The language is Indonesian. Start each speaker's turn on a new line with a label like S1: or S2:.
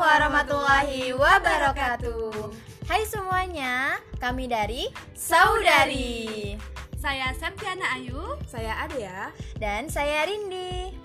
S1: warahmatullahi wabarakatuh.
S2: Hai semuanya, kami dari
S1: Saudari.
S3: Saya Septiana Ayu.
S1: Saya Adia.
S2: dan saya Rindi.